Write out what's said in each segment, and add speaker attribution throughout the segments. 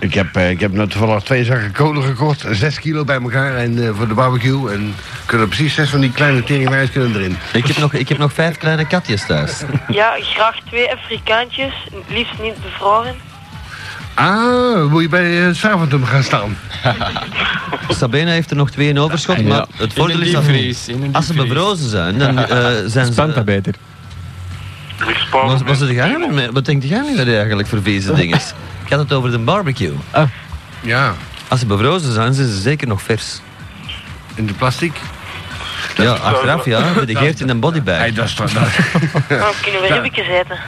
Speaker 1: Ik heb, eh, ik heb net toevallig twee zakken kolen gekocht. Zes kilo bij elkaar en, eh, voor de barbecue. En kunnen precies zes van die kleine teringwijs kunnen erin.
Speaker 2: Ik heb, nog, ik heb nog vijf kleine katjes thuis.
Speaker 3: Ja, graag twee Afrikaantjes, liefst niet bevroren.
Speaker 1: Ah, moet je bij eh Saventum gaan staan.
Speaker 2: Sabena heeft er nog twee in overschot,
Speaker 4: Ja.
Speaker 2: maar het voordeel
Speaker 4: In een
Speaker 2: is dat
Speaker 4: diepvries, in een
Speaker 2: als ze
Speaker 4: diepvries.
Speaker 2: bevrozen zijn, dan eh, zijn
Speaker 4: Spant dat
Speaker 2: ze...
Speaker 4: beter.
Speaker 5: Ik spaar
Speaker 2: Wat,
Speaker 5: me
Speaker 2: wat, zit
Speaker 5: met-
Speaker 2: jij nu mee? wat denkt jij nu weer eigenlijk voor vieze dingen? Gaat het over de barbecue?
Speaker 1: Ja,
Speaker 2: Als ze bevrozen zijn, zijn ze zeker nog vers.
Speaker 1: in de plastic.
Speaker 2: Ja, achteraf ja, redigeert in een bodybag.
Speaker 1: Hey, dat is toch, dat-
Speaker 3: Dan kunnen we rubbeke zetten.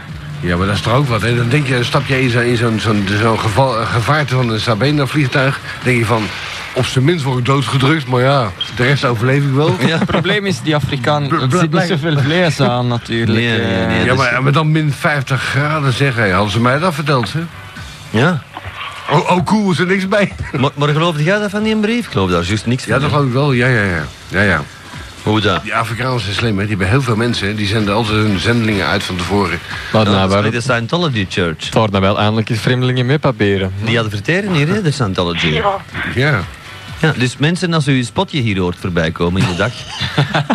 Speaker 1: ja, maar dat is toch ook wat. Hè? Dan denk je, dan stap je in zo'n zo zo'n zo'n geval- eh, gevaarte van een Sabena-vliegtuig. denk je van, op zijn minst word ik doodgedrukt. Maar ja, de rest overleef ik wel.
Speaker 2: Ja.
Speaker 4: Het probleem is, die Afrikaan,
Speaker 1: Bl-
Speaker 4: er
Speaker 1: bl-
Speaker 4: zit niet
Speaker 1: blijk-
Speaker 4: zoveel vlees aan natuurlijk.
Speaker 2: Nee, nee,
Speaker 4: eh.
Speaker 2: nee.
Speaker 1: Ja, maar, maar dan min 50 graden zeg. Hey, hadden ze mij dat verteld, hè?
Speaker 2: Ja.
Speaker 1: Oh, oh cool, is er niks bij.
Speaker 2: Maar, maar geloofde jij dat van die brief? Ik geloof daar juist niks van.
Speaker 1: Ja, dat
Speaker 2: hè.
Speaker 1: geloof ik wel. Ja, ja, ja. ja, ja.
Speaker 2: Hoe dat?
Speaker 4: Nou,
Speaker 1: Die Afrikanen zijn slim, hè. Die hebben heel veel mensen. hè. Die zenden altijd hun zendelingen uit van tevoren.
Speaker 4: Maar nou,
Speaker 2: Dat is
Speaker 4: waarom
Speaker 2: de Scientology Church.
Speaker 4: daar nou wel eindelijk eens vreemdelingen mee paperen?
Speaker 2: Die adverteren hier, hè, de Scientology.
Speaker 3: Ja.
Speaker 1: Ja.
Speaker 2: Ja, dus mensen, als u een spotje hier hoort voorbij komen in de dag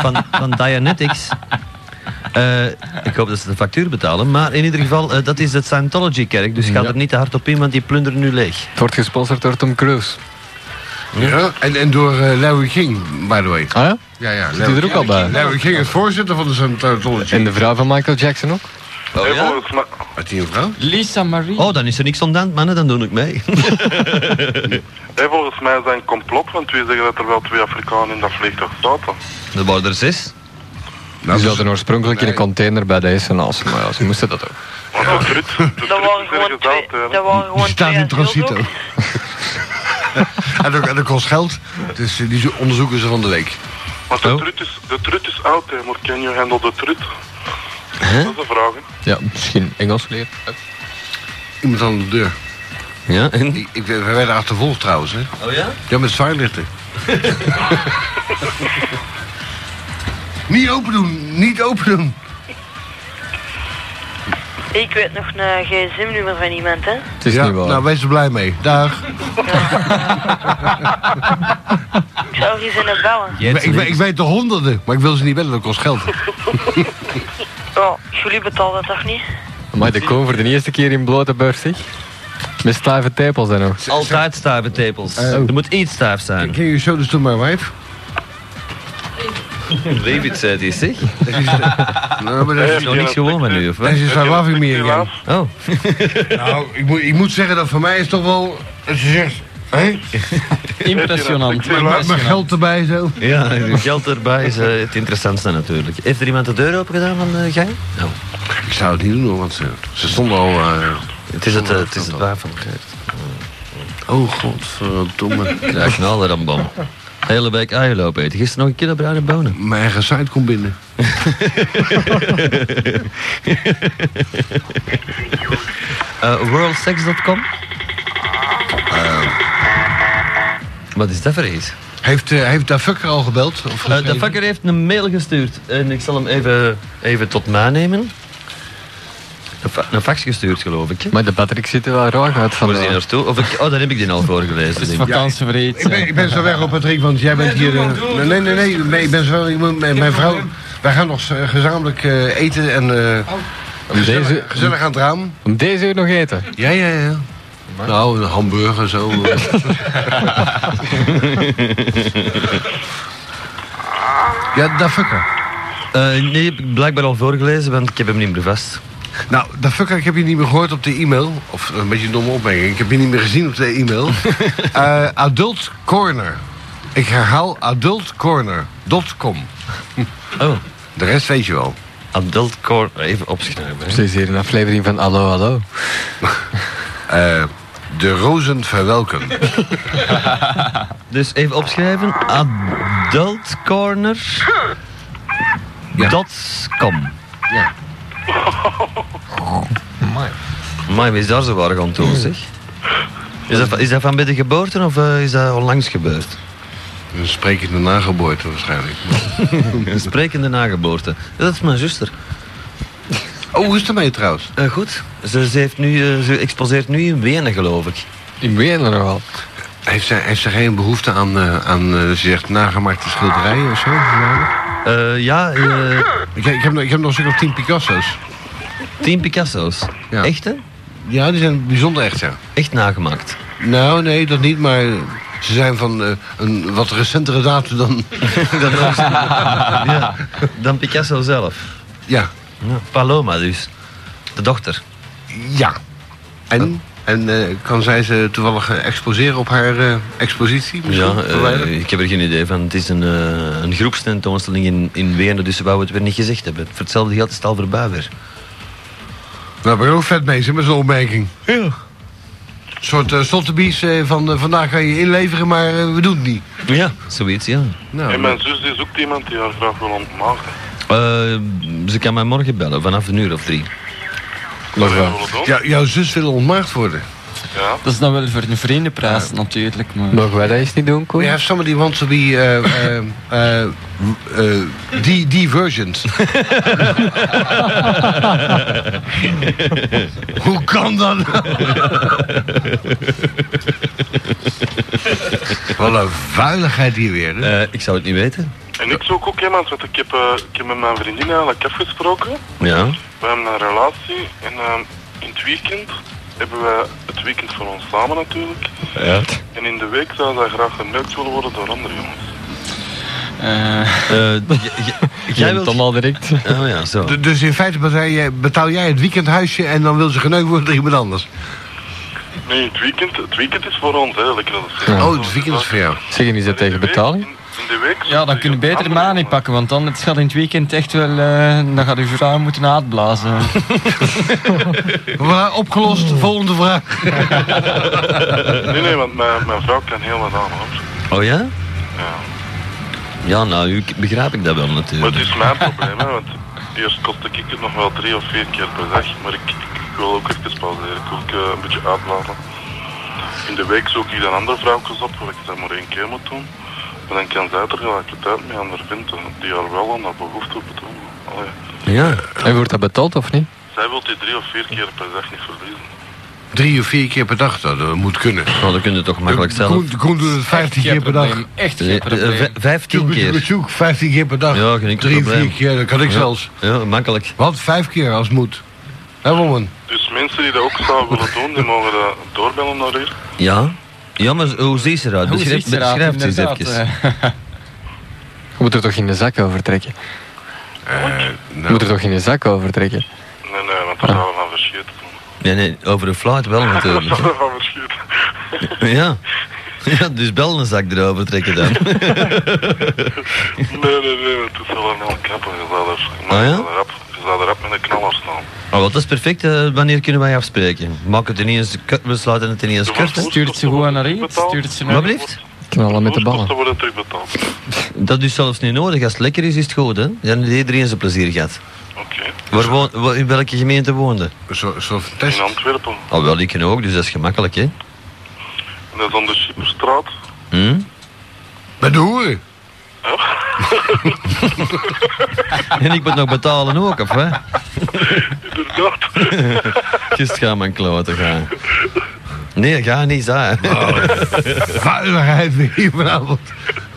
Speaker 2: van, van Dianetics. eh, ik hoop dat ze de factuur betalen. Maar in ieder geval, eh, dat is het Scientology-kerk. Dus ga
Speaker 4: Ja.
Speaker 2: er niet te hard op in, want die plunderen nu leeg.
Speaker 4: Het wordt gesponsord door Tom Cruise.
Speaker 1: ja. En, en door eh, Larry King, by the way.
Speaker 4: Ah ja?
Speaker 1: Ja, ja.
Speaker 4: Zit hij er ook al bij?
Speaker 1: Larry King is voorzitter van de Scientology.
Speaker 4: En de vrouw van Michael Jackson ook?
Speaker 2: Oh,
Speaker 5: Hey,
Speaker 2: ja?
Speaker 5: volgens mij-
Speaker 1: Had hij een vrouw?
Speaker 4: Lisa Marie.
Speaker 2: oh dan is er niks aan de hand, mannen. Dan doe ik mee.
Speaker 5: hey, volgens mij zijn het complot, want wie zeggen dat er wel twee Afrikanen in dat vliegtuig zaten.
Speaker 2: er waren er zes.
Speaker 1: Nou,
Speaker 4: Die zaten oorspronkelijk in een container bij de SNA's, maar ja, ze moesten dat ook.
Speaker 5: Wat een trut. De
Speaker 3: Dat waren
Speaker 5: trut is
Speaker 3: gewoon
Speaker 5: ergens
Speaker 3: twee,
Speaker 5: uit,
Speaker 6: eh,
Speaker 5: hè.
Speaker 3: dat waren
Speaker 1: Die
Speaker 3: gewoon
Speaker 1: staat
Speaker 3: twee
Speaker 1: in transito.
Speaker 3: asielzoekers.
Speaker 1: en, dat, en dat kost geld. Dus eh, die onderzoeken ze van de week.
Speaker 5: Maar de
Speaker 2: Oh.
Speaker 5: trut is, de trut is oud, hè. Maar can you handle de trut? Dat is de vraag, hè.
Speaker 4: Ja, misschien Engels leren.
Speaker 1: Iemand aan de deur.
Speaker 2: Ja, en...
Speaker 1: Ik, ik, we werden achtervolgd trouwens, hè.
Speaker 2: Oh ja?
Speaker 1: Ja, met zwaarlichten. niet open doen, niet open doen.
Speaker 3: Ik weet nog een gsm-nummer van iemand, hè.
Speaker 4: Het is
Speaker 1: ja,
Speaker 4: niet waar.
Speaker 1: nou, wees er blij mee. Dag.
Speaker 3: Ik zou hier zijn bellen.
Speaker 1: Ik, ik, ik weet de honderden, maar ik wil ze niet bellen, dat kost geld.
Speaker 3: Ja, jullie betalen dat toch niet?
Speaker 4: Maar de koon voor de eerste keer in blote beurs, zeg. Met stijve tepels en nog.
Speaker 2: Altijd stijve tepels.
Speaker 1: Eh,
Speaker 2: er moet iets stijf zijn.
Speaker 1: Ken je dus Shoulders to My Wife?
Speaker 2: David zei die, zeg.
Speaker 1: Nou, maar dat is,
Speaker 2: Nog niks gewoon met nu, of
Speaker 1: dat
Speaker 2: wat?
Speaker 1: is waar loving me again.
Speaker 5: Helaas.
Speaker 2: Oh.
Speaker 1: Nou, ik moet, ik moet zeggen dat voor mij is toch wel... Als je zegt, hé,
Speaker 4: Impressionant.
Speaker 1: met mijn geld erbij zo.
Speaker 2: Ja, geld erbij is eh, het interessantste natuurlijk. Heeft er iemand de deur open gedaan van de gang? Nou,
Speaker 1: Ik zou het niet doen, hoor, want ze, ze stonden al... eh,
Speaker 2: het is het, eh, het, is het waar van begrijpt.
Speaker 1: oh, godverdomme.
Speaker 2: Ja, knaller dan bom. Hele week eieren lopen eten. Gisteren nog een kilo bruine bonen.
Speaker 1: Mijn eigen site komt binnen.
Speaker 2: Eh, worldsex.com? Eh, Wat is dat voor iets?
Speaker 1: Heeft, eh, heeft Da Fucker al gebeld? Of
Speaker 2: Eh,
Speaker 1: geschreven?
Speaker 2: de vakker heeft een mail gestuurd en ik zal hem even, even tot mij nemen. Een, fa- een fax gestuurd geloof ik. hè?
Speaker 4: Maar de Patrick ziet er wel raar uit van eh,
Speaker 2: Waar is die naartoe? Of ik, oh, daar heb ik die al voor gelezen.
Speaker 4: Het is
Speaker 2: denk ik.
Speaker 4: vakantievreed.
Speaker 1: Ik ben, ik ben zo weg op Patrick, want jij bent hier. eh, nee, nee, nee, nee, Ik ben zo weg. ik moet- Mijn, mijn vrouw. Wij gaan nog eh, gezamenlijk eh, eten en. eh, gezellig,
Speaker 4: deze-
Speaker 1: gezellig aan het raam.
Speaker 4: Om deze uur nog eten.
Speaker 1: Ja, ja, ja. Nou, een hamburger zo. ja, Da Fucker.
Speaker 2: Eh, nee, heb ik blijkbaar al voorgelezen, want ik heb hem niet meer vast.
Speaker 1: Nou, Da Fucker, ik heb je niet meer gehoord op de e-mail. Of eh, een beetje een domme opmerking. Ik heb je niet meer gezien op de e-mail. Eh, adult Corner. Ik herhaal adultcorner.com.
Speaker 2: Oh,
Speaker 1: De rest weet je wel.
Speaker 2: adult core. Even opschrijven. hè.
Speaker 4: Ze is hier een aflevering van Allo Allo.
Speaker 1: Eh, de rozen verwelken.
Speaker 2: Dus even opschrijven. Adultcorner.com.
Speaker 1: Ja. Ja.
Speaker 2: Maar wie is daar zo waar gaan
Speaker 1: Hmm.
Speaker 2: toe, zeg? Is dat, van- is dat van bij de geboorte of eh, is dat onlangs gebeurd?
Speaker 1: Een sprekende nageboorte waarschijnlijk.
Speaker 2: Een sprekende nageboorte. Dat is mijn zuster.
Speaker 1: Oh, hoe is het ermee trouwens?
Speaker 2: Eh, goed. Ze, ze heeft nu, eh, ze exposeert nu in Wenen, geloof ik.
Speaker 4: Ik weet het nog wel.
Speaker 1: Heeft zij, heeft zij geen behoefte aan, eh, aan eh, ze zegt, nagemaakte schilderijen of zo?
Speaker 2: Eh, ja, eh,
Speaker 1: Ik, ik, heb, nog- ik heb nog zeker tien Picasso's.
Speaker 2: Team Picasso's.
Speaker 1: Ja.
Speaker 2: Echte?
Speaker 1: Ja, die zijn bijzonder echt, ja.
Speaker 2: Echt nagemaakt.
Speaker 1: Nou, nee, dat niet, maar ze zijn van eh, een wat recentere datum dan...
Speaker 2: ja, dan Picasso zelf.
Speaker 1: Ja,
Speaker 2: Ja, Paloma dus. De dochter.
Speaker 1: ja. En, en eh, kan zij ze toevallig eh, exposeren op haar eh, expositie? misschien?
Speaker 2: Ja, eh,
Speaker 1: Verwijderen?
Speaker 2: ik heb er geen idee van. Het is een, eh een groepstentoonstelling in, in Wenen, dus ze wou het weer niet gezegd hebben. Voor hetzelfde geld is het al voorbij weer.
Speaker 1: Nou, ben ik ook vet mee, zeg, met zo'n opmerking. Ja. Een soort eh sottebies eh, van eh, vandaag ga je inleveren, maar eh, we doen het niet.
Speaker 2: Ja. Zoiets, ja.
Speaker 1: Nou,
Speaker 5: En mijn zus die zoekt iemand die haar graag wil ontmaken.
Speaker 2: Eh, ze kan mij morgen bellen, vanaf een uur of drie.
Speaker 1: nog wel.
Speaker 5: Zullen we doen?
Speaker 1: Ja, jouw zus wil ontmaagd worden.
Speaker 5: Ja.
Speaker 7: Dat is dan wel voor een vriendenprijs natuurlijk, maar...
Speaker 4: Nog wel eens niet doen, Koen?
Speaker 1: We have somebody wants to be eh eh eh, eh, di- divergent. Hoe kan dat? nou? Wat een vuiligheid hier weer. hè?
Speaker 2: Eh, ik zou het niet weten.
Speaker 5: En ik zoek ook iemand, want ik heb, eh, ik heb met mijn vriendin eigenlijk afgesproken.
Speaker 2: Ja.
Speaker 5: We hebben een relatie en ehm, in het weekend hebben we het weekend voor ons samen natuurlijk.
Speaker 2: ja.
Speaker 5: En in de week zou zij graag gemerkt willen worden door andere jongens.
Speaker 7: eh,
Speaker 2: jij
Speaker 4: Jij
Speaker 2: wilt...
Speaker 4: dan al direct.
Speaker 2: Oh ja, zo.
Speaker 1: D- Dus in feite betaal jij, betaal jij het weekendhuisje en dan wil ze geneukt worden door iemand anders.
Speaker 5: Nee, het weekend, het weekend is voor ons, hè, lekker dat is.
Speaker 1: Oh, het weekend is voor jou.
Speaker 4: Zeg, en is dat
Speaker 5: Maar in
Speaker 4: tegen
Speaker 5: de week-
Speaker 4: betaling?
Speaker 5: In, in de week
Speaker 7: ja, dan
Speaker 5: zoekt
Speaker 7: kun je
Speaker 5: hij
Speaker 7: beter
Speaker 5: andere
Speaker 7: maandag
Speaker 5: jongens.
Speaker 7: pakken, want dan het gaat in het weekend echt wel... eh, dan gaat je vrouw moeten uitblazen.
Speaker 1: Voilà, opgelost, volgende vraag.
Speaker 5: Nee, nee, want mijn, mijn vrouw kan heel wat aan hoor.
Speaker 2: Oh ja?
Speaker 5: Ja.
Speaker 2: Ja, nou, u- begrijp ik dat wel
Speaker 5: Maar het
Speaker 2: natuurlijk.
Speaker 5: is mijn probleem, hè, want eerst kostte ik het nog wel drie of vier keer per dag, maar ik, ik, ik wil ook even pauzeren, ik wil ook eh, een beetje uitblazen. In de week zoek ik dan andere vrouwtjes op, waar ik dat maar één keer moet doen. En dan kan zij er tegelijkertijd mee aan haar vinden, die haar wel aan haar behoefte bedoelen. Allee,
Speaker 2: Ja.
Speaker 4: En wordt dat betaald of niet?
Speaker 5: Zij wil die drie of vier keer per dag niet verliezen.
Speaker 1: Drie of vier keer per dag, dat eh, moet kunnen.
Speaker 2: Nou, dat kun je toch makkelijk zelf.
Speaker 1: Koen, Koen doet het 15 keer per dag.
Speaker 7: probleem, Echt
Speaker 2: Eh,
Speaker 7: geen
Speaker 2: eh,
Speaker 7: probleem.
Speaker 2: vij- Vijftien
Speaker 1: Tjoeke, tjoeke,
Speaker 2: keer.
Speaker 1: tjoeke, 15 keer per dag.
Speaker 2: Ja, geen enkel
Speaker 1: Drie,
Speaker 2: probleem.
Speaker 1: vier keer, dat kan ik zelfs.
Speaker 2: Ja, makkelijk.
Speaker 1: Wat? Vijf keer als het moet. Hè, woman?
Speaker 5: Dus mensen die dat ook zouden willen doen, die mogen dat doorbellen naar hier.
Speaker 2: Ja. Ja, maar hoe ziet ze eruit?
Speaker 7: Hoe
Speaker 2: Beschrijf,
Speaker 7: ziet ze eruit,
Speaker 2: beschrijf ze eens
Speaker 7: inderdaad,
Speaker 2: even.
Speaker 7: eh.
Speaker 4: Je moet er toch in de zak over trekken? Je
Speaker 1: Nou,
Speaker 4: moet er toch in de zak over trekken?
Speaker 5: Nee, nee, want daar zouden we van verschieten.
Speaker 2: Nee, nee, over een fluit wel
Speaker 5: Daar
Speaker 2: natuurlijk.
Speaker 5: zouden we van verschieten.
Speaker 2: ja. ja. Dus bel een zak erover trekken dan.
Speaker 5: Nee, nee, nee, want het is allemaal kappen. Je zou er,
Speaker 4: Oh
Speaker 2: Ah, ja?
Speaker 5: je zou er rap, je zou er rap met een knaller staan.
Speaker 2: Oh, wat, dat is perfect. eh, wanneer kunnen wij afspreken? Maak het ineens kut, we sluiten het ineens kort. hè?
Speaker 7: Stuurt ze gewoon naar iets, stuurt ze
Speaker 2: Wat
Speaker 7: naar...
Speaker 2: blijft?
Speaker 4: Knallen met de ballen.
Speaker 5: Dan worden terugbetaald.
Speaker 2: Dat is zelfs niet nodig. Als het lekker is, is het goed. Hè? Dan heeft iedereen zijn plezier gehad.
Speaker 5: Oké.
Speaker 2: Waar woon, waar- in welke gemeente woonde?
Speaker 1: een soort- een soort test.
Speaker 5: In Antwerpen.
Speaker 2: Oh, wel, ik ken ook, dus dat is gemakkelijk. Hè?
Speaker 5: En dat is aan de Schipperstraat.
Speaker 2: Hm?
Speaker 1: Bij de hoeren.
Speaker 2: En ik moet nog betalen ook, of hè?
Speaker 5: Inderdaad.
Speaker 2: Gisteren gaan mijn kloten gaan. Nee, ga niet zijn.
Speaker 1: Vuiligheid weer hier vanavond.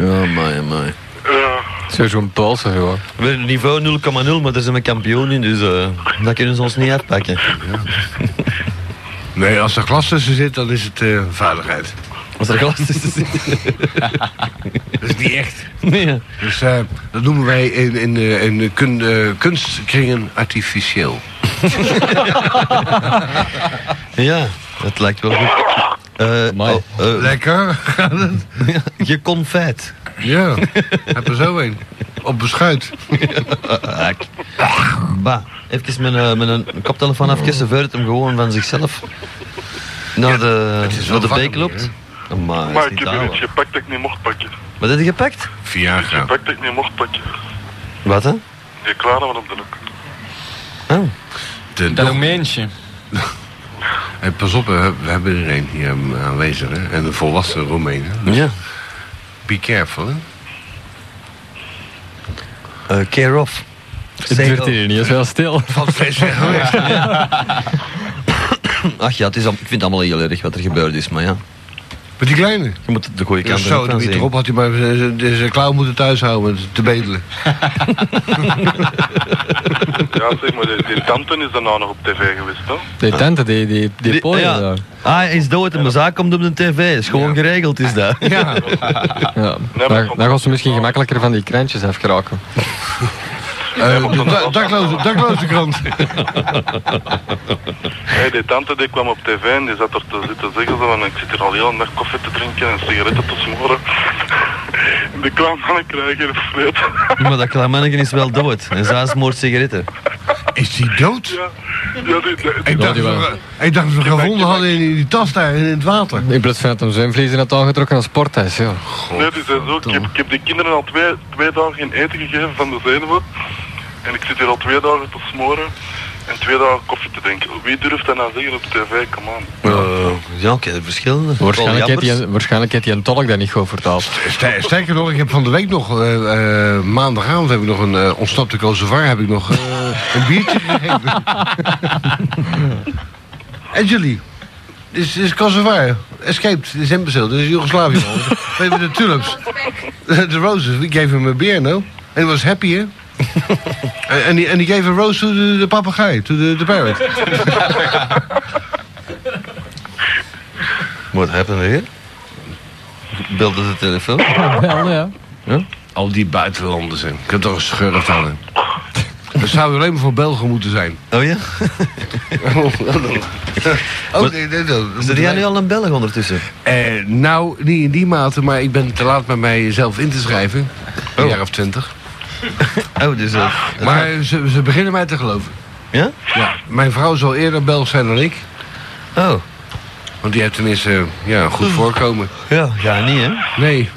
Speaker 2: Oh, my, my.
Speaker 5: Ja.
Speaker 4: Zo zo'n polsen gewoon.
Speaker 2: Weer niveau 0,0, maar daar zijn we kampioen in, dus eh, dat kunnen ze ons niet uitpakken.
Speaker 1: Nee, als er glas tussen zit, dan is het eh, veiligheid.
Speaker 2: Als er glas tussen zit.
Speaker 1: Dat is niet echt.
Speaker 2: Nee.
Speaker 1: Dus eh, dat noemen wij in, in, eh, in de kun- eh, kunstkringen artificieel.
Speaker 2: Ja, het lijkt wel goed. Eh,
Speaker 4: Amai.
Speaker 2: oh, eh,
Speaker 1: Lekker. Gaat het?
Speaker 2: je confit.
Speaker 1: Ja, heb er zo een. Op beschuit.
Speaker 2: Ak. Bah, even met, een- met een koptelefoon afkissen, vuurt hem gewoon van zichzelf. Naar de,
Speaker 1: is wel
Speaker 2: naar de
Speaker 1: warm
Speaker 2: beek
Speaker 1: hier,
Speaker 2: loopt. Oh,
Speaker 4: Ah,
Speaker 2: Maar,
Speaker 5: Maar ik heb hier iets gepakt dat ik niet mocht pakken. Dus
Speaker 2: Wat heb je gepakt?
Speaker 1: Viagra.
Speaker 5: Gepakt dat ik niet mocht pakken.
Speaker 2: Wat hè?
Speaker 5: Die klaren van op de hoek.
Speaker 2: Oh.
Speaker 1: De
Speaker 7: Dat
Speaker 1: dok-
Speaker 7: Romeintje.
Speaker 1: Hey, pas op, eh, we hebben er een hier eh, aanwezig. Hè? En een volwassen Roemeen. hè.
Speaker 2: Ja.
Speaker 1: Be careful, hè?
Speaker 2: Eh, care of.
Speaker 4: Het wordt hier niet eens wel stil.
Speaker 1: Wat is er geweest?
Speaker 2: Ach ja, het is, al- ik vind het allemaal heel erg wat er gebeurd is, maar ja.
Speaker 1: Met die kleine.
Speaker 2: Je moet het de goede
Speaker 1: Ja,
Speaker 2: kant
Speaker 1: zo,
Speaker 2: erop
Speaker 1: de
Speaker 2: gaan
Speaker 1: wiet
Speaker 2: zien.
Speaker 1: erop had hij maar zijn- zijn zijn klauw moeten thuishouden met te bedelen.
Speaker 5: Ja, zeg maar, die, die tante is daarna nog op tv geweest, hè?
Speaker 4: Die tenten, die, die, die,
Speaker 2: Die-
Speaker 4: pooien
Speaker 2: ja.
Speaker 4: daar.
Speaker 2: Ah, hij is dood en mijn zaak komt op de tv. Is gewoon geregeld, is dat.
Speaker 1: Ja,
Speaker 4: Ja.
Speaker 5: maar
Speaker 4: Daar,
Speaker 5: van-
Speaker 4: daar gaan ze misschien gemakkelijker van die krantjes afgeraken.
Speaker 1: Eh, de da- dakloze- dakloze krant.
Speaker 5: Hey, die tante die kwam op tv en die zat er te zitten zeggen zo van ik zit hier al heel een dag koffie te drinken en sigaretten te smoren. En die kwam van ik krijg hier vreed.
Speaker 2: Maar dat klein mannetje is wel dood. En zij smoort sigaretten.
Speaker 1: Is die dood?
Speaker 5: Ja, ja, die, die-
Speaker 1: Ik dacht,
Speaker 4: die
Speaker 1: dat
Speaker 4: wel.
Speaker 1: we- ik dacht dat we gevonden hadden in die tas daar in het water.
Speaker 4: In plaats van dat hem zwemvlies in het aangetrokken als sporthuis. Ja.
Speaker 5: nee, die zei zo, ik heb, ik heb die kinderen al twee, twee dagen geen eten gegeven van de zenuwen. En ik zit hier al twee dagen te smoren en twee dagen koffie te drinken. Wie durft dat nou zeggen op tv? Come on.
Speaker 2: Eh, ja, oké, verschillende.
Speaker 4: Waarschijnlijk heeft,
Speaker 2: Polyappers.
Speaker 4: hij, waarschijnlijk heeft hij een tolk dat niet goed vertaald.
Speaker 1: Ster- Sterker nog, ik heb van de week nog, eh, eh, maandagavond heb ik nog een eh, ontsnapte Kosovar, heb ik nog eh, een biertje gegeven. en jullie? Dit is, dit is Kosovar, escaped, dit is imbecile, dit is Joegoslavië. man. We hebben de tulips, de roses, we gave him a beer, no? En he was happy, hè? En- En die- en die gave a rose to the, the papegaai, to the, the parrot.
Speaker 2: What happened here? Belde de telefoon.
Speaker 4: Wel, ja.
Speaker 1: Al die buitenlanders, hè. Ik heb toch een schurft aan, hè. Dat zou alleen maar voor Belgen moeten zijn.
Speaker 2: Oh ja?
Speaker 1: Oh, nee, nee, nee.
Speaker 2: Zit jij nu al een Belg ondertussen?
Speaker 1: Eh, nou, niet in die mate, maar ik ben te laat met mijzelf in te schrijven. Een jaar of twintig.
Speaker 2: Oh, dus... eh,
Speaker 1: Maar ze, ze beginnen mij te geloven.
Speaker 2: Ja?
Speaker 1: Ja. Mijn vrouw zal eerder Belg zijn dan ik.
Speaker 2: Oh.
Speaker 1: Want die heeft tenminste eh, ja, een goed voorkomen.
Speaker 2: Ja, ja, niet hè?
Speaker 1: Nee.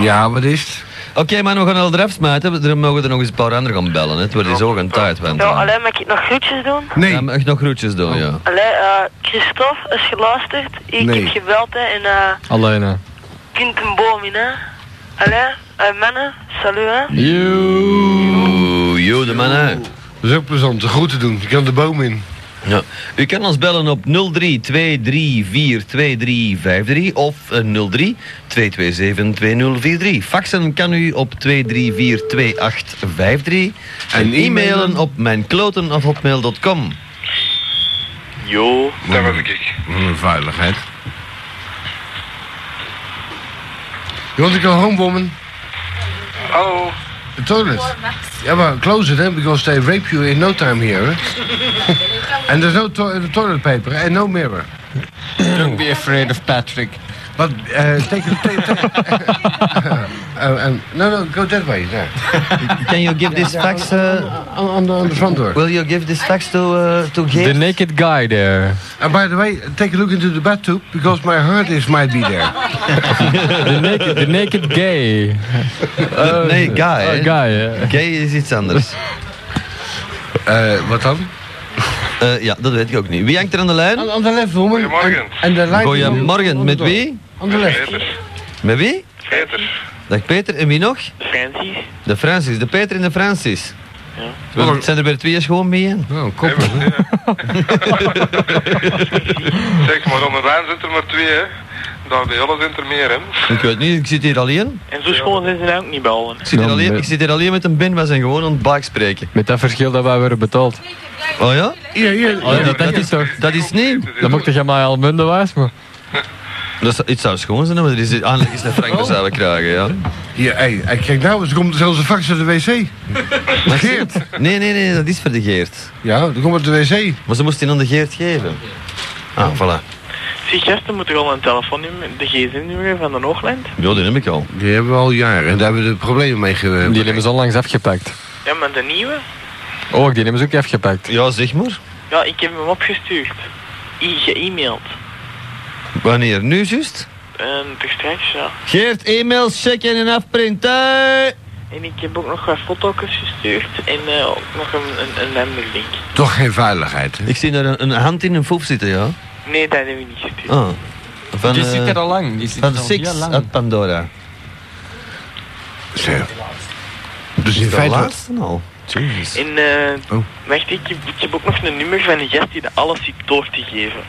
Speaker 1: Ja, wat is het?
Speaker 2: Oké, maar we gaan al eraf smijten. Dan mogen er nog eens een paar anderen gaan bellen. Hè. Het wordt zo aan tijd. want- eh.
Speaker 3: Ja, alleen mag ik nog groetjes doen?
Speaker 1: Nee.
Speaker 2: Ja, mag ik nog groetjes doen, ja.
Speaker 3: Allee, eh, Christophe is geluisterd. Ik
Speaker 1: Nee.
Speaker 3: heb gebeld hè, en eh,
Speaker 4: Alleen, hè.
Speaker 3: kind een boom in, hè. Allee, eh, mannen, salut, hè.
Speaker 2: Oeh, yo, de man uit.
Speaker 1: Dat is ook plezant. De groeten doen. Je kan de boom in.
Speaker 2: Ja. U kan ons bellen op 03-234-2353 of eh, 03-227-2043. Faxen kan u op 234-2853 en,
Speaker 1: En
Speaker 2: e-mailen op mijnkloten.hotmail.com.
Speaker 5: Jo,
Speaker 1: Daar was ik. Wat een Mm, veiligheid. Je want ik een homewoman?
Speaker 5: hallo.
Speaker 1: The toilet. Ja, maar close it, hè, because they rape you in no time here, hè. And there's no to toilet paper and no mirror.
Speaker 7: Don't be afraid of Patrick.
Speaker 1: But uh, take a... Take, take, uh, um, no, no, go that way, there.
Speaker 2: Can you give this fax? Uh,
Speaker 1: On, on, the, on the front door.
Speaker 2: will you give this fax to, uh, to
Speaker 4: The
Speaker 2: Geert?
Speaker 4: naked guy there.
Speaker 1: And by the way, take a look into the bathtub, because my heart is might be there.
Speaker 4: The naked, the naked gay.
Speaker 2: Eh, nee, guy. hè.
Speaker 4: Uh, guy, hè.
Speaker 2: Gay is iets anders.
Speaker 1: Uh, wat dan?
Speaker 2: Eh, ja, dat weet ik ook niet. Wie hangt er aan de lijn?
Speaker 1: On, on the left, woman.
Speaker 5: Goedemorgen.
Speaker 1: And, and the light is on- on
Speaker 2: Goedemorgen,
Speaker 1: the
Speaker 2: met
Speaker 1: door.
Speaker 2: wie?
Speaker 1: On the left.
Speaker 5: Peter.
Speaker 2: Met wie?
Speaker 5: Peter.
Speaker 2: Dag Peter, en wie nog?
Speaker 3: Francis.
Speaker 2: De Francis, de Peter en de Francis. Ja. Het zijn er weer twee gewoon mee in.
Speaker 1: Oh, een koppel, hè.
Speaker 5: Zeg maar, onder lijn zit er maar twee, hè. Daar de hele zijn er meer, hè.
Speaker 2: Ik weet niet, ik zit hier alleen.
Speaker 6: En zo schoon zijn ze dan ook niet bellen.
Speaker 2: Ik zit hier
Speaker 4: Ja,
Speaker 2: alleen,
Speaker 4: maar-
Speaker 2: ik zit hier alleen met een bin, we zijn gewoon aan het baak spreken.
Speaker 4: Met dat verschil dat wij werden betaald.
Speaker 2: Oh ja?
Speaker 1: Hier, hier.
Speaker 4: ja,
Speaker 2: dat,
Speaker 4: dat
Speaker 2: dat,
Speaker 4: is
Speaker 2: is,
Speaker 4: toch-
Speaker 2: dat is niet.
Speaker 4: Dan mocht je mij al munden wijs, maar...
Speaker 2: Dat zou- het zou schoon zijn, maar er is aanleg is naar Frank
Speaker 4: Oh.
Speaker 2: dat zouden we krijgen, ja.
Speaker 1: Hier, hey, hey, kijk nou, eens, er komt zelfs een fax uit de wc. Geert.
Speaker 2: Nee, nee, nee, dat is voor de Geert.
Speaker 1: Ja, er komt uit de wc.
Speaker 2: Maar ze moesten aan de Geert geven. Ah, voilà.
Speaker 6: Zie, gasten moeten al een telefoonnummer, de gsm-nummer van de Hoogland.
Speaker 2: Ja, die heb ik al.
Speaker 1: Die hebben we al jaren en daar hebben we de problemen mee ge...
Speaker 4: Die hebben ze onlangs afgepakt.
Speaker 6: Ja, maar de nieuwe?
Speaker 4: Oh, die hebben ze ook afgepakt.
Speaker 2: Ja, zeg maar.
Speaker 6: Ja, ik heb hem opgestuurd. I ge-e-maild.
Speaker 2: Wanneer? Nu juist?
Speaker 6: En toch straks, ja.
Speaker 2: Geert, e-mails checken en afprinten.
Speaker 6: En ik heb ook nog wat foto's gestuurd en eh, ook nog een, een, een ander link.
Speaker 1: Toch geen veiligheid, hè?
Speaker 2: Ik zie daar een, een hand in een foef zitten, ja.
Speaker 6: Nee, dat hebben we niet gestuurd.
Speaker 2: Ah. Van,
Speaker 7: Die
Speaker 2: eh,
Speaker 7: zit er al lang. Die zit
Speaker 2: van
Speaker 7: er al
Speaker 2: Six
Speaker 7: heel lang.
Speaker 2: uit Pandora.
Speaker 1: Zo. Dus in
Speaker 2: De
Speaker 1: Dus feite,
Speaker 2: laatste nou? al. Jezus.
Speaker 6: En eh,
Speaker 1: Oh.
Speaker 6: wacht, ik heb, ik heb ook nog een nummer van een gast die dat alles ziet door te geven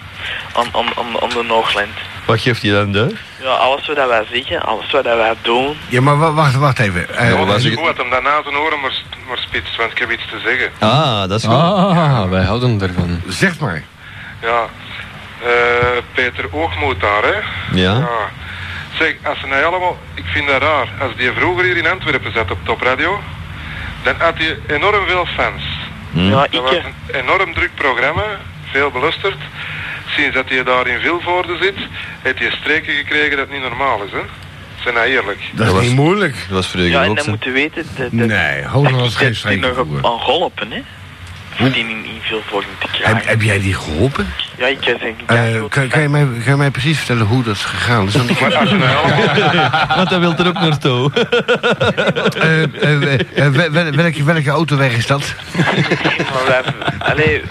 Speaker 6: aan, aan, aan, aan de Noordland.
Speaker 2: Wat geeft hij dan door?
Speaker 6: Ja, alles wat dat wij zeggen, alles wat dat wij doen.
Speaker 1: Ja, maar wa- wacht, wacht even. Eh,
Speaker 2: Ja, maar waar
Speaker 1: eh,
Speaker 2: zit-
Speaker 5: Goed, had hem daarna zijn oren maar, maar spitst, want ik heb iets te zeggen.
Speaker 2: Ah, dat is goed.
Speaker 4: Ah, wij houden ervan.
Speaker 1: zeg maar.
Speaker 5: Ja, Eh, Peter Oogmoed daar, hè?
Speaker 2: Ja.
Speaker 5: Ja. Zeg, als ze nou allemaal, ik vind dat raar, als die vroeger hier in Antwerpen zat op topradio, dan had hij enorm veel fans.
Speaker 2: Hm.
Speaker 6: Ja,
Speaker 5: Dat was
Speaker 6: ik,
Speaker 5: een enorm druk programma, veel belusterd. Sinds dat hij daar in Vilvoorde zit, heeft hij streken gekregen dat niet normaal is, hè? Zijn nou eerlijk?
Speaker 1: Dat is
Speaker 2: was-
Speaker 1: niet moeilijk.
Speaker 2: Dat was vroeger
Speaker 6: ja, en
Speaker 2: ook
Speaker 6: dan
Speaker 2: zo.
Speaker 6: moeten weten dat, dat,
Speaker 1: Nee, Holland was geen
Speaker 6: dat die nog op,
Speaker 1: streekvoer.
Speaker 6: aan golpen, hè. Om die in, in veel vorm te
Speaker 1: Heb,
Speaker 6: krijgen.
Speaker 1: heb jij die geholpen?
Speaker 6: Ja, ik zeg ik
Speaker 1: Eh,
Speaker 6: ben
Speaker 1: kan, kan, je mij, kan je mij precies vertellen hoe dat is gegaan? Dus
Speaker 5: Maar als ze nou allemaal...
Speaker 2: Want dat wil er ook naartoe.
Speaker 1: eh, eh, eh, wel- wel- welke, welke autoweg is dat?
Speaker 6: maar wij... Allee...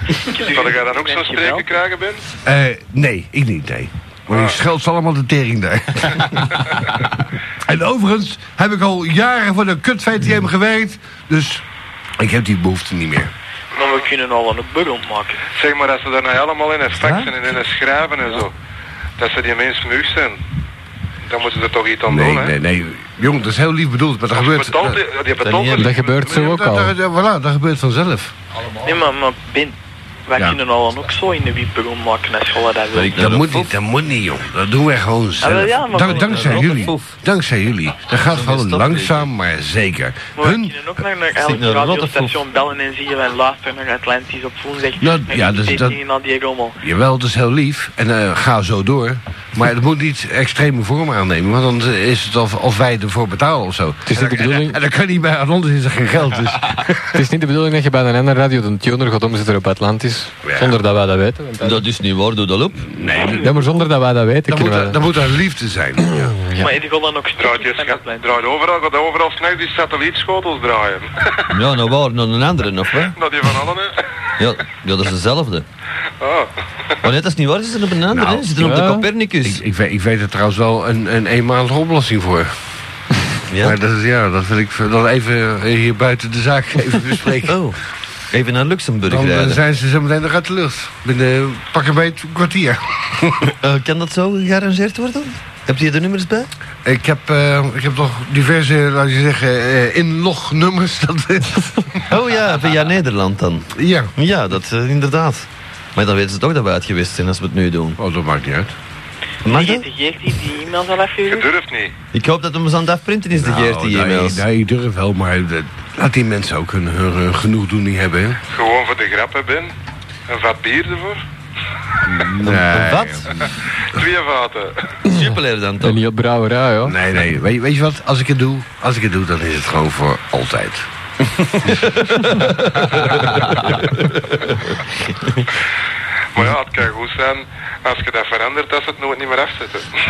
Speaker 5: Zal jij dan ook zo'n
Speaker 6: Dankjewel.
Speaker 5: streken krijgen, Ben?
Speaker 1: Eh, nee, ik niet, nee. Maar je scheldt ze allemaal de tering daar. en overigens heb ik al jaren voor de kut VTM gewerkt. Dus ik heb die behoefte niet meer.
Speaker 6: Maar nou, we kunnen al een bubbel maken.
Speaker 5: Zeg maar dat ze daar nou allemaal in het faxen en in het schrijven en zo. Dat ze die mensen muug zijn. Dan moeten ze er toch iets aan
Speaker 1: Nee,
Speaker 5: doen, hè?
Speaker 1: nee, nee. Jong, dat is heel lief bedoeld, maar dat
Speaker 5: Of
Speaker 1: gebeurt...
Speaker 5: betaalt
Speaker 1: dat-
Speaker 5: die, die betaalt
Speaker 2: niet
Speaker 5: er-
Speaker 4: Dat gebeurt zo ook al.
Speaker 1: dat- dat- Voilà, dat gebeurt vanzelf.
Speaker 6: Nee, maar, maar Ben... Wij
Speaker 1: Ja.
Speaker 6: kunnen al ook zo in de wiep bubbel maken als je dat wil.
Speaker 2: ik
Speaker 1: Dat moet niet, dat moet niet, jong. Dat doen wij gewoon zelf.
Speaker 6: wel ja, maar
Speaker 1: Dank-
Speaker 6: wel-
Speaker 1: dankzij
Speaker 2: wel
Speaker 1: jullie.
Speaker 2: foef.
Speaker 1: Dankzij jullie. Dat gaat gewoon
Speaker 2: dat
Speaker 1: langzaam, maar zeker.
Speaker 6: Maar we
Speaker 1: Hun...
Speaker 6: kunnen ook naar, naar
Speaker 2: Zit
Speaker 6: elk
Speaker 2: nou een rotte
Speaker 6: radiostation bellen en zien en luisteren naar Atlantis op woensdag.
Speaker 1: Nou,
Speaker 6: En
Speaker 1: ja, dus
Speaker 6: die
Speaker 1: dat-
Speaker 6: tegen al die rommel.
Speaker 1: Jawel, dat is heel lief. En eh, ga zo door. Maar het moet niet extreme vorm aannemen. Want dan eh, is het of, of wij ervoor betalen of zo.
Speaker 4: Het is niet de bedoeling,
Speaker 1: En dan kan niet bij anders is er geen geld. Dus.
Speaker 4: het is niet de bedoeling dat je bij een andere radio de tuner gaat omzetten op Atlantis.
Speaker 1: Ja.
Speaker 4: Zonder dat wij dat weten. want dat-
Speaker 2: Dat is niet waar, doe dat op.
Speaker 1: Nee,
Speaker 4: Ja, maar zonder dat wij dat weten
Speaker 1: dan moet,
Speaker 4: kunnen wij
Speaker 1: er,
Speaker 4: dat...
Speaker 1: dan moet er liefde zijn. Ja.
Speaker 6: Maar die gaan dan ook
Speaker 5: Draait,
Speaker 6: stukjes
Speaker 5: je
Speaker 6: van
Speaker 5: scha-
Speaker 6: Atlantis.
Speaker 5: draait overal, gaat overal snel die satellietschotels draaien.
Speaker 2: Ja, nou waar, nou een andere of wat?
Speaker 5: dat die van allen, hè?
Speaker 2: Ja, ja, dat is dezelfde. Oh,
Speaker 5: Ah.
Speaker 2: Maar net als niet waar, ze zitten op een andere,
Speaker 1: Nou,
Speaker 2: hè? ze zitten op de
Speaker 4: ja.
Speaker 2: Copernicus.
Speaker 1: Ik, ik, weet, ik weet er trouwens wel een, een eenmalige oplossing voor.
Speaker 2: Ja.
Speaker 1: Maar dat, is- ja, dat wil ik dan even eh, hier buiten de zaak even bespreken.
Speaker 2: Oh, even naar Luxemburg
Speaker 1: Dan eh,
Speaker 2: rijden.
Speaker 1: zijn ze zo meteen nog uit de lucht. Binnen eh, pak een beetje een kwartier.
Speaker 2: Eh, kan dat zo gearrangeerd worden? Heb je de nummers bij?
Speaker 1: Ik heb, eh, ik heb nog diverse, laat je zeggen, eh, inlognummers. Dat,
Speaker 2: Oh ja, via Nederland dan.
Speaker 1: ja.
Speaker 2: Ja, dat eh, inderdaad. Maar dan weten ze toch dat we uit geweest zijn als we het nu doen.
Speaker 1: Oh, dat maakt niet uit.
Speaker 2: Mag
Speaker 6: Die
Speaker 2: dat?
Speaker 6: de Geert die die e-mails al
Speaker 5: Je
Speaker 6: afgehuurd.
Speaker 5: durft niet.
Speaker 2: Ik hoop dat hem eens aan het afprinten is, de Geert, die
Speaker 1: Nou,
Speaker 2: e-mails.
Speaker 1: Nee, nee, ik durf wel, maar dat- laat die mensen ook hun, hun, hun genoegdoening hebben. hè.
Speaker 5: Gewoon voor de grap, hè, Ben? Een vat bier ervoor?
Speaker 1: Nee.
Speaker 2: Wat?
Speaker 5: Twee vaten.
Speaker 2: Jupiler dan
Speaker 4: En
Speaker 2: toch?
Speaker 4: niet op brouwerij, hoor.
Speaker 1: Nee, nee. Weet, je- weet je wat? Als ik het doe, als ik het doe, dan is het gewoon voor altijd.
Speaker 5: Maar ja, het kan goed zijn als je dat verandert, dat ze het nooit niet meer afzetten. Dus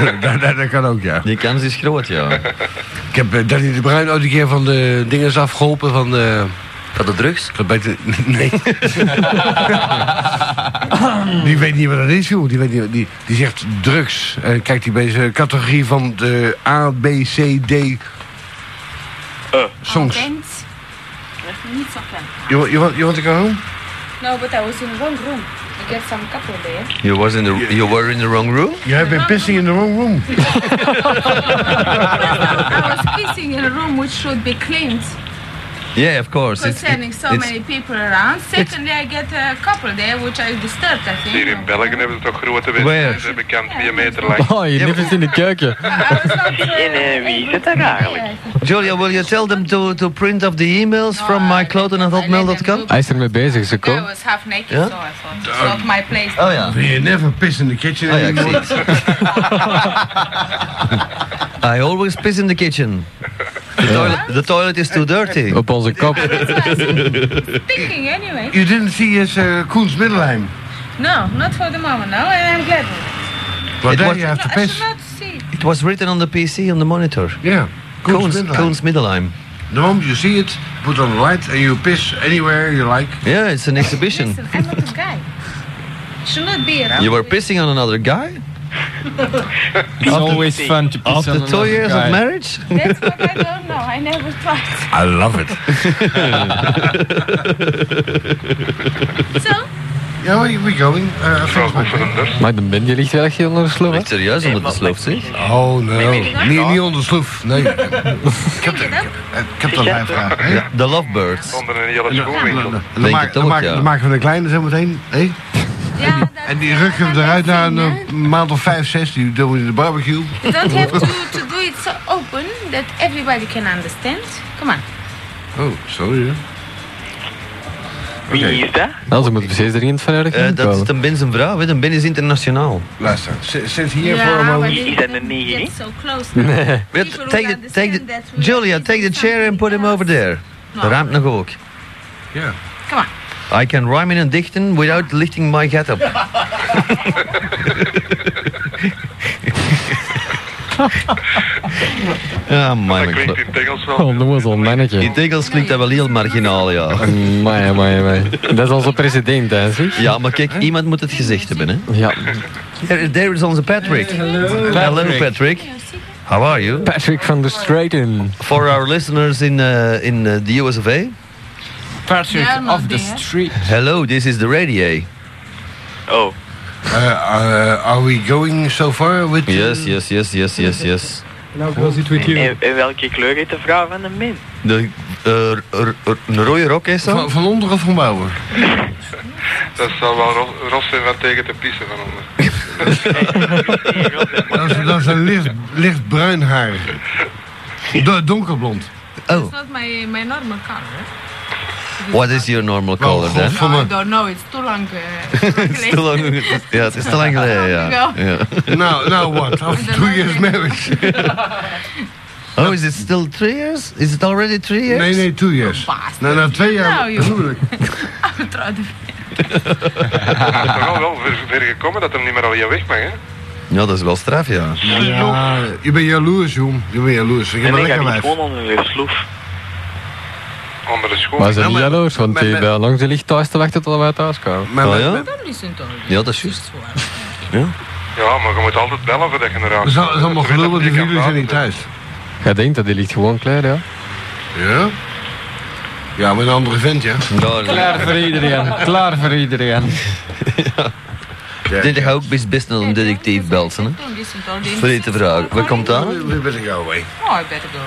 Speaker 1: Nou, dat, dat, dat kan ook, ja.
Speaker 2: Die kans is groot, ja.
Speaker 1: Ik heb eh, Danny de Bruin ooit een keer van de dingen afgeholpen van eh, de...
Speaker 2: Van de drugs?
Speaker 1: Dat beter... Nee. die weet niet wat dat is, joh. Die, weet niet, die, die zegt drugs. Eh kijkt die bij zijn categorie van de A, B, C, D... songs.
Speaker 8: Thanks. Niet so fun.
Speaker 1: Je, wa- je, wa- je want ik home?
Speaker 8: No, but I was in the wrong room. I get some couple there.
Speaker 2: You, was in the, you were in the wrong room?
Speaker 1: You have been pissing in the wrong room.
Speaker 8: I was pissing in a room which should be cleaned
Speaker 2: Yeah, of course. It's-
Speaker 8: concerning so
Speaker 2: it's-
Speaker 8: many people around. Secondly, I get a couple there which I disturbed, I think.
Speaker 5: Hier in België hebben ze toch grote
Speaker 2: Where?
Speaker 5: wc. Ze bekend twee meter lang.
Speaker 4: Oh, je lief is in de keuken.
Speaker 8: I was not, uh,
Speaker 6: En eh, wie is het daar eigenlijk?
Speaker 2: Julia, will you tell them to, to print off the emails from myclothing.hotmail.com?
Speaker 4: Hij is ermee bezig, ze
Speaker 8: I
Speaker 4: komt.
Speaker 8: was half naked,
Speaker 2: Yeah?
Speaker 8: so I thought it's not my place.
Speaker 2: Oh ja.
Speaker 1: You never piss in the kitchen
Speaker 2: Oh ja, ik
Speaker 1: anymore.
Speaker 2: zie het. I always piss in the kitchen. The toilet, the toilet is too dirty.
Speaker 4: Op onze kop.
Speaker 8: Thinking anyway.
Speaker 1: You didn't see his uh, Koens Middelheim.
Speaker 8: No, not for the moment, no, and I'm glad. of it.
Speaker 1: But
Speaker 2: It
Speaker 1: there
Speaker 2: was-
Speaker 1: you have to
Speaker 8: No, I should
Speaker 1: piss.
Speaker 8: not see. it.
Speaker 2: It was written on the PC on the monitor.
Speaker 1: Yeah. Koens
Speaker 2: Koons,
Speaker 1: Middelheim.
Speaker 2: Koons Middelheim.
Speaker 1: The moment you see it, put on the light and you piss anywhere you like.
Speaker 2: Yeah, it's an exhibition.
Speaker 8: Listen, I'm not a guy. Should not be around.
Speaker 2: You were
Speaker 8: with-
Speaker 2: pissing on another guy?
Speaker 7: It's always fun to piss
Speaker 2: After
Speaker 7: on
Speaker 2: two
Speaker 7: another
Speaker 2: years of
Speaker 7: guy.
Speaker 2: marriage?
Speaker 8: That's what I don't know. I never tried.
Speaker 1: I love it.
Speaker 8: So,
Speaker 1: Yeah, where are we going? Uh, I
Speaker 9: Mevrouw
Speaker 1: think it's my
Speaker 9: Bob van den Durst.
Speaker 4: Maar de bende ligt wel echt heel onder de slow, hè?
Speaker 2: Ligt serieus onder de sloof, zeg.
Speaker 1: Oh, no.
Speaker 8: nee, nee.
Speaker 1: Niet, niet onder sloef. Nee. ik heb, eh,
Speaker 8: je dat?
Speaker 1: ik heb dat mijn vraag. hè?
Speaker 2: De Lovebirds.
Speaker 9: Onder een hele schoenwinkel.
Speaker 1: Dan,
Speaker 2: Denk
Speaker 1: maak-
Speaker 2: het
Speaker 1: dan
Speaker 2: ook,
Speaker 1: maak-
Speaker 2: ja.
Speaker 1: dan maken we de kleine zo meteen. hè?
Speaker 8: ja, dat,
Speaker 1: En die rukken hem eruit na een
Speaker 8: Dat,
Speaker 1: eh, maand of vijf, zes. Die doen we in de barbecue.
Speaker 8: don't have to, to do it so open that everybody can understand. Come on.
Speaker 1: Oh, sorry. hè.
Speaker 6: Wie
Speaker 1: Oké.
Speaker 6: is dat?
Speaker 4: Nou, ze moeten precies er iemand van uit.
Speaker 2: Eh, dat is de Ben zijn vrouw, hè. De Ben is internationaal.
Speaker 1: Luister, zit zit hier voor een moment.
Speaker 6: Is dat een nee,
Speaker 8: Get
Speaker 6: niet?
Speaker 8: so close now.
Speaker 2: Wait,
Speaker 8: People
Speaker 2: take the,
Speaker 8: will
Speaker 2: take
Speaker 8: understand
Speaker 2: the,
Speaker 8: that we
Speaker 2: Julia,
Speaker 8: are
Speaker 2: take the
Speaker 8: facing
Speaker 2: chair and put him
Speaker 8: something
Speaker 2: over
Speaker 8: else.
Speaker 2: there.
Speaker 8: No.
Speaker 2: De Ruimt nog ook.
Speaker 1: Ja.
Speaker 8: Come on.
Speaker 2: I can rhyme in en dichten without lifting my gat up. ja,
Speaker 9: Dat
Speaker 2: man.
Speaker 9: klinkt in het Engels wel.
Speaker 4: Oh, noezel,
Speaker 2: Die
Speaker 4: mannetje.
Speaker 2: tegels klinkt dat wel heel marginaal, ja.
Speaker 4: Amai, amai, amai. Dat is onze president, hè, zeg.
Speaker 2: Ja, maar kijk, iemand moet het gezegd hebben, hè.
Speaker 4: Ja.
Speaker 2: There, there is onze Patrick. Hello. Hello, Patrick. How are you?
Speaker 4: Patrick van der Straten.
Speaker 2: For our listeners in, uh, in uh, the US of A,
Speaker 7: Patrick
Speaker 8: Ja, maar
Speaker 7: of the
Speaker 8: die, hè.
Speaker 7: street.
Speaker 2: hello, this is the radio.
Speaker 6: Oh,
Speaker 1: Uh, uh, are we going so far with...
Speaker 2: Yes, yes, yes, yes, yes, yes.
Speaker 6: en, en welke kleur heeft de vrouw van de min?
Speaker 2: De, eh, r- r- r- een rode rok is
Speaker 1: Van,
Speaker 2: dat?
Speaker 1: van onder of van boven?
Speaker 9: Dat zal wel ro- Ros zijn van tegen te pissen van onder.
Speaker 1: Dat is, dat is een licht, lichtbruin haar. Do- donkerblond.
Speaker 2: Oh,
Speaker 8: It's not my, my normal color.
Speaker 2: what is your normal color
Speaker 1: Oh,
Speaker 2: then?
Speaker 1: God.
Speaker 8: No,
Speaker 1: Van
Speaker 8: I
Speaker 1: me.
Speaker 8: don't know. It's too long. Uh,
Speaker 2: Te lang, ja, het is te lang geleden, ja. ja.
Speaker 1: Nou, nou wat? After two years marriage.
Speaker 2: Oh, is it still three years? Is it already three years?
Speaker 1: Nee, nee, two years.
Speaker 8: Bastard.
Speaker 1: Nou, na twee jaar...
Speaker 8: Nou, joh.
Speaker 1: huwelijk.
Speaker 9: Het is toch al wel ver, ver gekomen dat hem niet meer alweer weg mag, hè?
Speaker 2: Ja, dat is wel straf, ja.
Speaker 1: Ja, je bent jaloers, joh. Je bent jaloers. Je
Speaker 6: En
Speaker 1: bent
Speaker 6: ik
Speaker 1: lekker
Speaker 6: heb die
Speaker 1: wijf.
Speaker 6: gewoon onder de sloef.
Speaker 9: Onder de schoen.
Speaker 1: Ja,
Speaker 2: Nou,
Speaker 4: Maar ze zijn niet
Speaker 1: maar-
Speaker 4: jaloers, want
Speaker 1: maar-
Speaker 4: die
Speaker 1: maar-
Speaker 4: bij langs de licht thuis te wachten tot wij thuis komen.
Speaker 1: Maar,
Speaker 2: Oh,
Speaker 1: maar-
Speaker 2: ja?
Speaker 8: Don't listen to all this.
Speaker 2: Ja, dat is juist.
Speaker 9: Ja, maar je moet altijd bellen voor dat generatie.
Speaker 1: Dat is al- dat is allemaal gelul, want die jullie zijn niet thuis.
Speaker 4: Jij denkt dat die ligt gewoon klaar, ja?
Speaker 1: Ja? Ja, met een andere vent, ja.
Speaker 2: Ja,
Speaker 7: Klaar voor iedereen. Klaar voor iedereen.
Speaker 2: Dit gaat ook best, best naar een detectief belt, hè.
Speaker 8: Don't listen to all this.
Speaker 2: Voor dit te vragen. Waar komt dat?
Speaker 1: We better go away.
Speaker 8: Oh, I better go.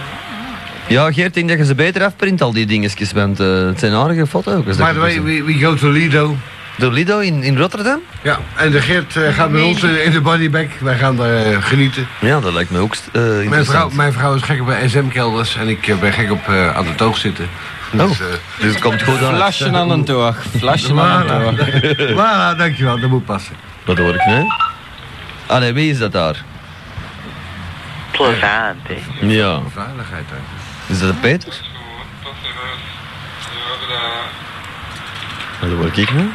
Speaker 2: Ja, Geert, ik denk dat je ze beter afprint, al die dingetjes, want eh, het zijn aardige foto's.
Speaker 1: By the way, we, we go to Lido.
Speaker 2: Door Lido in, in Rotterdam?
Speaker 1: Ja, en de Geert eh, gaat met ons eh, in de bodybag. Wij gaan daar eh, genieten.
Speaker 2: Ja, dat lijkt me ook st- eh,
Speaker 1: Mijn vrouw,
Speaker 2: interessant.
Speaker 1: mijn vrouw is gek op SM-kelders en ik eh, ben gek op eh, aan de toog zitten. Dus, eh,
Speaker 2: Dus het komt goed aan.
Speaker 7: Flasje aan een toog. Flasje aan een toog.
Speaker 1: voilà, dankjewel, dat moet passen.
Speaker 2: Dat hoor ik, nee? Ah nee, wie is dat daar?
Speaker 6: Plezant, hè.
Speaker 2: Ja.
Speaker 1: Veiligheid, hè.
Speaker 2: Is dat Peter? Dat word ik nu.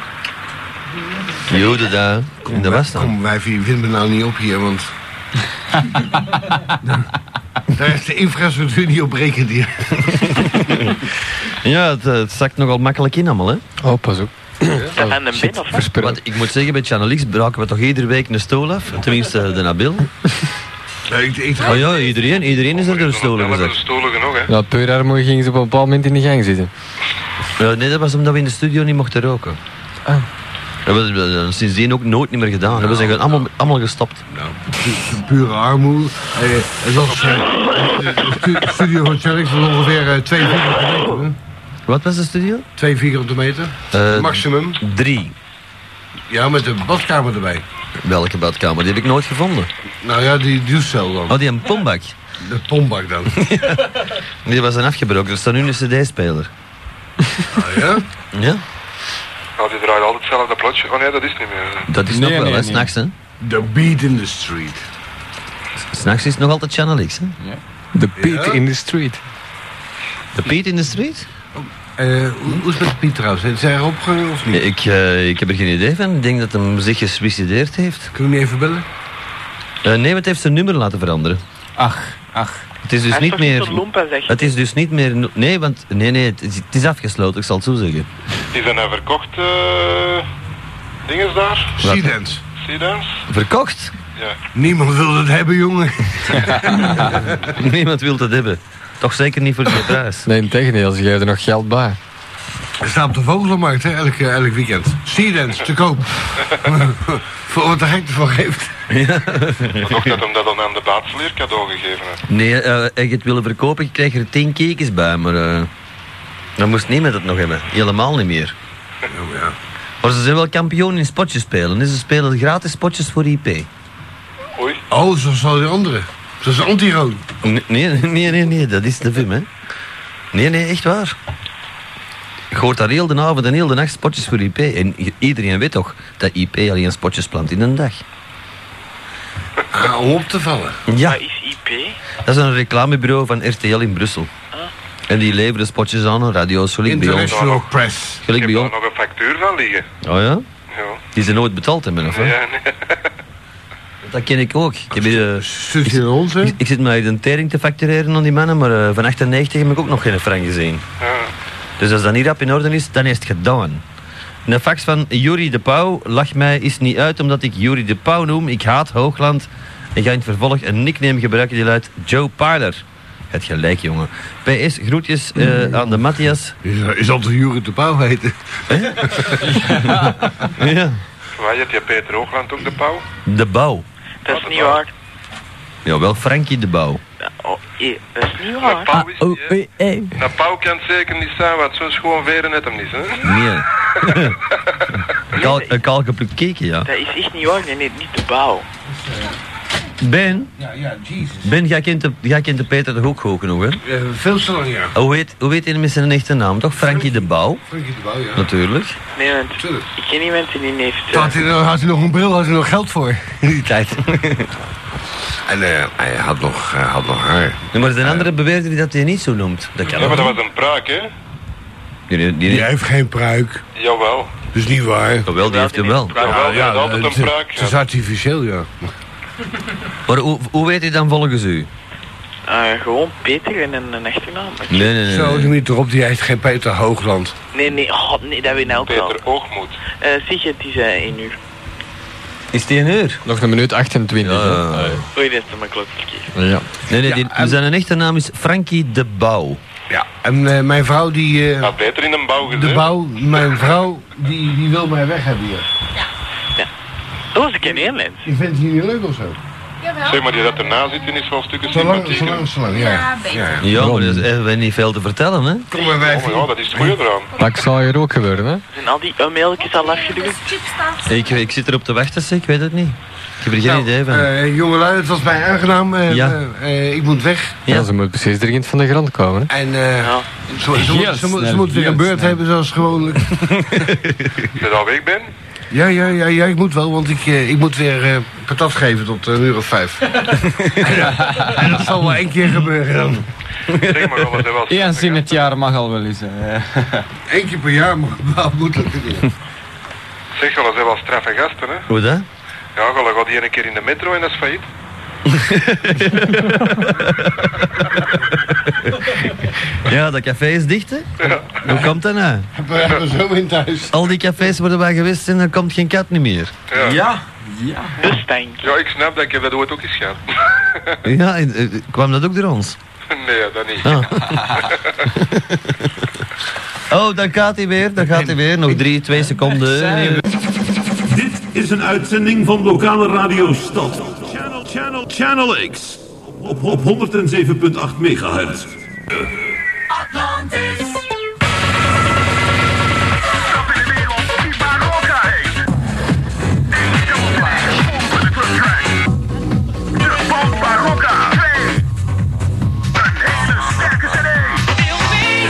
Speaker 2: Jode daar. In de was dan.
Speaker 1: Kom, wij vinden me nou niet op hier, want... Nou, Daar is de infrastructuur niet op rekend hier.
Speaker 2: Ja, het, eh, het zakt nogal makkelijk in allemaal, hè.
Speaker 4: Oh, pas op.
Speaker 6: Is dat aan de min of wat?
Speaker 4: Verspillen.
Speaker 2: Want ik moet zeggen, bij Channel X braken we toch iedere week een stoel af. Tenminste, de Nabil.
Speaker 1: Nee, ik, ik,
Speaker 2: Oh ja, iedereen, iedereen is er door de stoel
Speaker 9: hebben de
Speaker 2: gezakt.
Speaker 9: stoelen genoeg, hè?
Speaker 4: Ja, puur armoede gingen ze op een bepaald moment in de gang zitten.
Speaker 2: Ja, nee, dat was omdat we in de studio niet mochten roken.
Speaker 4: Ah.
Speaker 2: Dat hebben we eh, sindsdien ook nooit meer gedaan. We zijn gewoon allemaal, allemaal gestopt.
Speaker 1: pu- pure armoede. Eh, het was, eh, de- de stu- studio van Charix was ongeveer eh, twee vierkante meter. hè.
Speaker 2: Wat was de studio?
Speaker 1: Twee vierkante meter.
Speaker 2: Eh,
Speaker 1: Maximum.
Speaker 2: Drie.
Speaker 1: Ja, met een badkamer erbij.
Speaker 2: Welke badkamer? Die heb ik nooit gevonden.
Speaker 1: Nou ja, die douchecel dan.
Speaker 2: Oh, die een pombak.
Speaker 1: De pombak dan.
Speaker 2: Die was dan afgebroken. Er staat nu een cd-speler.
Speaker 1: Ah, ja?
Speaker 2: Ja?
Speaker 9: Ja, die draait altijd hetzelfde plotje. Oh nee, dat is niet meer.
Speaker 2: Dat is
Speaker 4: Nee,
Speaker 2: nog wel,
Speaker 4: nee,
Speaker 2: hè.
Speaker 4: nee.
Speaker 2: S'nachts, hè.
Speaker 1: The beat in the street.
Speaker 2: S'nachts is het nog altijd Channel X, hè.
Speaker 4: De beat in the street.
Speaker 2: De Piet in de street?
Speaker 1: Eh, hoe, hoe is het met Piet trouwens? Is hij erop gegaan of niet?
Speaker 2: Ik, eh, ik heb er geen idee van. Ik denk dat hem zich gesuicideerd heeft.
Speaker 1: Kunnen we niet even bellen?
Speaker 2: Eh, nee, het heeft zijn nummer laten veranderen.
Speaker 7: Ach, ach.
Speaker 2: Het is dus
Speaker 6: Hij is
Speaker 2: niet
Speaker 6: toch niet zo'n
Speaker 2: meer...
Speaker 6: lompa, zeg.
Speaker 2: Het is dus niet meer... no- Nee, want... Nee, nee, het is, het is afgesloten, ik zal het zo zeggen.
Speaker 9: Die zijn nou verkocht, eh... Dinges daar,
Speaker 1: Seedance.
Speaker 9: Seedance.
Speaker 2: Verkocht?
Speaker 5: Ja.
Speaker 1: Niemand wil het hebben, jongen.
Speaker 2: Niemand wil dat hebben. Toch zeker niet voor die prijs.
Speaker 4: Nee, integendeel, ze geven er nog geld bij.
Speaker 1: Er staat op de vogelmarkt, hè, elk, eh, elk weekend. Seedance, te koop. Voor wat de gek ervan geeft.
Speaker 5: Maar ook dat hem dat dan aan de baatsleer cadeau gegeven heeft.
Speaker 2: Nee, eh als je het willen verkopen, je krijgt er tien kekens bij, maar eh, dan moest niemand het nog hebben. Helemaal niet meer.
Speaker 1: Ja, maar ja.
Speaker 2: Maar ze zijn wel kampioen in spotjes spelen. hè. Ze spelen gratis spotjes voor IP.
Speaker 5: Oei,
Speaker 1: Oh, zoals al die anderen. Zoals de anti-roon.
Speaker 2: Nee, nee, nee, nee, nee, dat is de film, hè. Nee, nee, echt waar. Je hoort daar heel de avond en heel de nacht spotjes voor IP. En i- iedereen weet toch dat IP alleen spotjes plant in een dag.
Speaker 1: Ah, om op te vallen.
Speaker 2: Ja,
Speaker 6: Dat is IP.
Speaker 2: dat is een reclamebureau van RTL in Brussel.
Speaker 5: Ah.
Speaker 2: En die leveren spotjes aan aan radio's, gelijk bij ons.
Speaker 1: International Press.
Speaker 5: ik
Speaker 2: Gelijk
Speaker 5: heb
Speaker 2: bij
Speaker 5: daar
Speaker 2: ons.
Speaker 5: nog een factuur van liggen.
Speaker 2: Oh ja?
Speaker 5: Ja,
Speaker 2: Die ze nooit betaald hebben, of wat?
Speaker 5: ja nee.
Speaker 2: Dat ken ik ook. Ik, heb hier, eh,
Speaker 1: Stukje in ons,
Speaker 5: Hm?
Speaker 1: hè?
Speaker 2: ik, ik zit mij een tering te factureren aan die mannen, maar eh, van 98 heb ik ook nog geen frank gezien.
Speaker 5: Ja.
Speaker 2: Dus als dat niet rap in orde is, dan is het gedaan. En Een fax van Jury de Pauw lag mij is niet uit omdat ik Jury de Pauw noem. Ik haat Hoogland en ga in het vervolg een nickname gebruiken die luidt Joe Parler. Het gelijk, jongen. PS, groetjes eh, aan de Matthias.
Speaker 1: Is, is altijd Jure de Pauw heten.
Speaker 2: Ja.
Speaker 5: Waar heeft je Peter Hoogland ook de pauw?
Speaker 2: De Bouw.
Speaker 6: Dat is niet waar.
Speaker 2: Jawel, Frankie de Bouw.
Speaker 6: Ja, Oh, hé, dat is niet
Speaker 5: De
Speaker 6: waar.
Speaker 5: pauw is
Speaker 2: ah,
Speaker 5: niet, hè. De pauw kan het zeker niet zijn, want zo'n schoon veren heeft hem niet, hè?
Speaker 2: Nee. Een kaal- Een kaal geplukt keken, ja.
Speaker 6: Dat is echt niet waar. Nee, nee, niet de bouw.
Speaker 2: Ben,
Speaker 1: Ja, ja, Jesus. Eh,
Speaker 2: ben jij, kent de, jij kent de Peter toch ook goed genoeg, hè? Oh,
Speaker 1: veel te lang, ja.
Speaker 2: Hoe heet, hoe heet hij met zijn echte naam, toch? Frankie de Bouw,
Speaker 1: Frankie de Pauw, ja.
Speaker 2: natuurlijk.
Speaker 6: Nee, want
Speaker 1: Tuurlijk.
Speaker 6: ik ken iemand die niet heeft... eh,
Speaker 1: Had hij, nog- had hij nog een bril, had hij nog geld voor in die tijd. En eh, hij had nog, eh, had nog haar.
Speaker 2: Nee, maar zijn andere beweerder die dat hij niet zo noemt. Dat kan
Speaker 5: Ja, maar dat
Speaker 2: ook.
Speaker 5: was een pruik, hè?
Speaker 2: Die, die, die,
Speaker 1: Jij heeft geen pruik,
Speaker 5: Jawel.
Speaker 1: dus niet waar.
Speaker 2: Jawel, die heeft hem wel.
Speaker 5: Jawel, ja, dat is altijd een
Speaker 1: eh, het,
Speaker 5: pruik.
Speaker 1: het is artificieel, ja.
Speaker 2: Maar hoe, hoe weet hij dan volgens u?
Speaker 6: eh, gewoon Peter en een, een achternaam.
Speaker 2: Nee, nee,
Speaker 1: Zo,
Speaker 2: nee,
Speaker 1: de
Speaker 2: nee.
Speaker 1: niet erop, die heet geen Peter Hoogland.
Speaker 6: Nee, nee, oh, nee, dat weet ik ook wel.
Speaker 5: Peter Oogmoed.
Speaker 6: Eh zeg je, het is eh, één uur.
Speaker 2: Is die een uur?
Speaker 4: Nog een minuut 28.
Speaker 2: Ja, ja,
Speaker 4: hè?
Speaker 2: ja.
Speaker 6: Oei, dat is te makkelijk verkeerd.
Speaker 4: ja.
Speaker 2: Nee, nee, die,
Speaker 1: Ja, en-
Speaker 2: zijn echte naam is Frankie de Bouw.
Speaker 1: Ja. En eh, mijn vrouw, die... eh,
Speaker 5: Had beter in een bouw
Speaker 1: de
Speaker 5: gezet.
Speaker 1: bouw, mijn vrouw, die, die wil mij weg hebben hier.
Speaker 6: Dat was ik in Nederland.
Speaker 1: Die vindt het hier niet leuk of zo.
Speaker 8: Jawel.
Speaker 5: Zeg maar, die dat erna zit, die is wel stukken
Speaker 1: Zolang,
Speaker 5: sympathieker.
Speaker 1: zolang, zolang, ja.
Speaker 8: Ja, beter.
Speaker 1: ja.
Speaker 2: Ja, maar dat eh, hebben niet veel te vertellen, hè?
Speaker 1: Kom maar
Speaker 5: Oh, maar ja, dat is het goede eraan.
Speaker 4: Dat zou hier ook gebeuren, hè?
Speaker 6: Zijn al die e-mailtjes al afgedrukt?
Speaker 2: Ik, ik zit erop te wachten, zeg, ik weet het niet. Ik heb er geen idee van.
Speaker 1: Eh, jongelui, het was mij aangenaam. eh,
Speaker 2: Ja.
Speaker 1: eh, eh, ik moet weg.
Speaker 2: Ja.
Speaker 4: Ja. ze moet precies dringend van de grond komen.
Speaker 1: En eh,
Speaker 6: Ja.
Speaker 1: ze, ze, moet-
Speaker 7: Heel
Speaker 1: ze, moet- ze
Speaker 7: snel,
Speaker 1: moet weer
Speaker 7: heel
Speaker 1: een beurt
Speaker 7: snel.
Speaker 1: hebben zoals gewoonlijk.
Speaker 5: Als je al weg bent,
Speaker 1: Ja, ja, ja, ja, ik moet wel, want ik, eh, ik moet weer eh, patat geven tot eh, een uur of vijf. en dat zal wel één keer gebeuren dan.
Speaker 5: zeg maar wel, dat hij wel
Speaker 7: Eens in het jaar mag al wel eens. eh.
Speaker 1: Eén keer per jaar moet, moet dat weer.
Speaker 5: Zeg, wel, dat zijn wel straffe gasten, hè?
Speaker 2: Hoe dat?
Speaker 5: Ja, wel, dan gaat die een keer in de metro en dat is failliet.
Speaker 2: Ja, dat café is dicht, hè? Hoe komt dat nou?
Speaker 1: We hebben zo in thuis.
Speaker 2: Al die cafés worden wij geweest en er komt geen kat niet meer.
Speaker 5: Ja. ja.
Speaker 7: Ja, ja.
Speaker 6: De stank.
Speaker 5: ik snap dat ik heb dat ooit ook eens gehad.
Speaker 2: Ja, en, eh, kwam dat ook door ons?
Speaker 5: nee, dat niet.
Speaker 2: Ah. oh, dan gaat hij weer, dan gaat hij weer. Nog drie, twee seconden.
Speaker 10: Dit is een uitzending van lokale radio Stad. Channel, channel, channel X. Op, op 107.8 megahertz.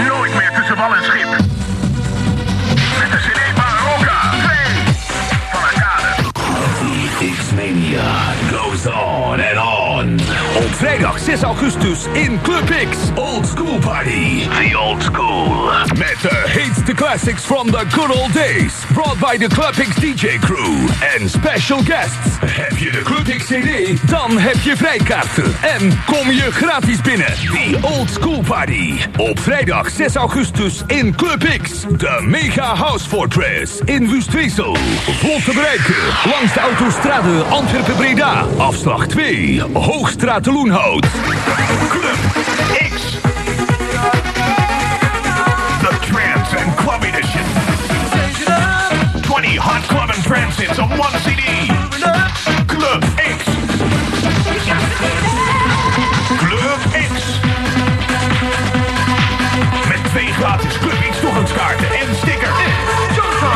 Speaker 10: Nooit meer tussen wal en schip. Met de CD Barocca 2 van Arcade. X-Mania goes on and on. Op vrijdag 6 augustus in Club X. Old School Party. The Old School. Met de heetste classics from the good old days. Brought by the Clubpix DJ crew en special guests. Heb je de Clubpix CD? Dan heb je vrijkaarten. En kom je gratis binnen. Die Old School Party. Op vrijdag 6 augustus in Clubpix. De Mega House Fortress in Wustwezel. Vol te bereiken langs de autostrade Antwerpen-Breda. Afslag 2. Hoogstraat de Loenhout.
Speaker 11: The Trance and Club Edition. 20 hot club and trance hits on one CD. Club X. Club X. Met twee gratis Club X toegangskaarten en sticker.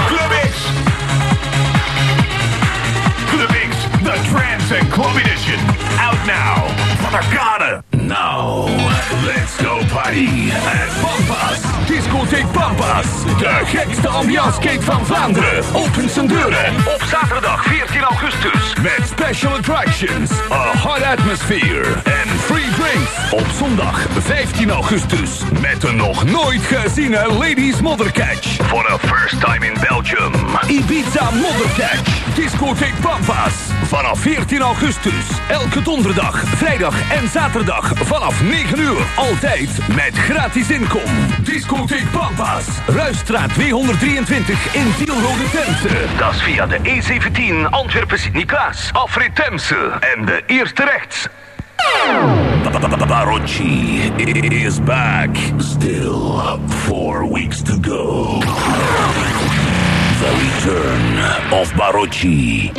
Speaker 11: Club X. Club X, the Trance and Club Edition. Out now. Mothergade.
Speaker 10: Now, let's go party at Pampas. Discotheek Pampas. De gekste ambiancekate van Vlaanderen. Opent zijn deuren op zaterdag 14 augustus. Met special attractions, a hot atmosphere en free drinks. Op zondag 15 augustus met een nog nooit geziene ladies moddercatch. For the first time in Belgium. Ibiza moddercatch. Discotheek Pampas. Vanaf 14 augustus. Elke donderdag, vrijdag en zaterdag vanaf 9 uur. Altijd met gratis inkom. Discotheek Pampas. Ruistraat 223 in Tielrode Temse. Dat is via de E E17 Antwerpen Sint-Niklaas. Afrit Temse. En de eerste rechts.
Speaker 11: Barocci is back. Still four weeks to go. The return of Barocci.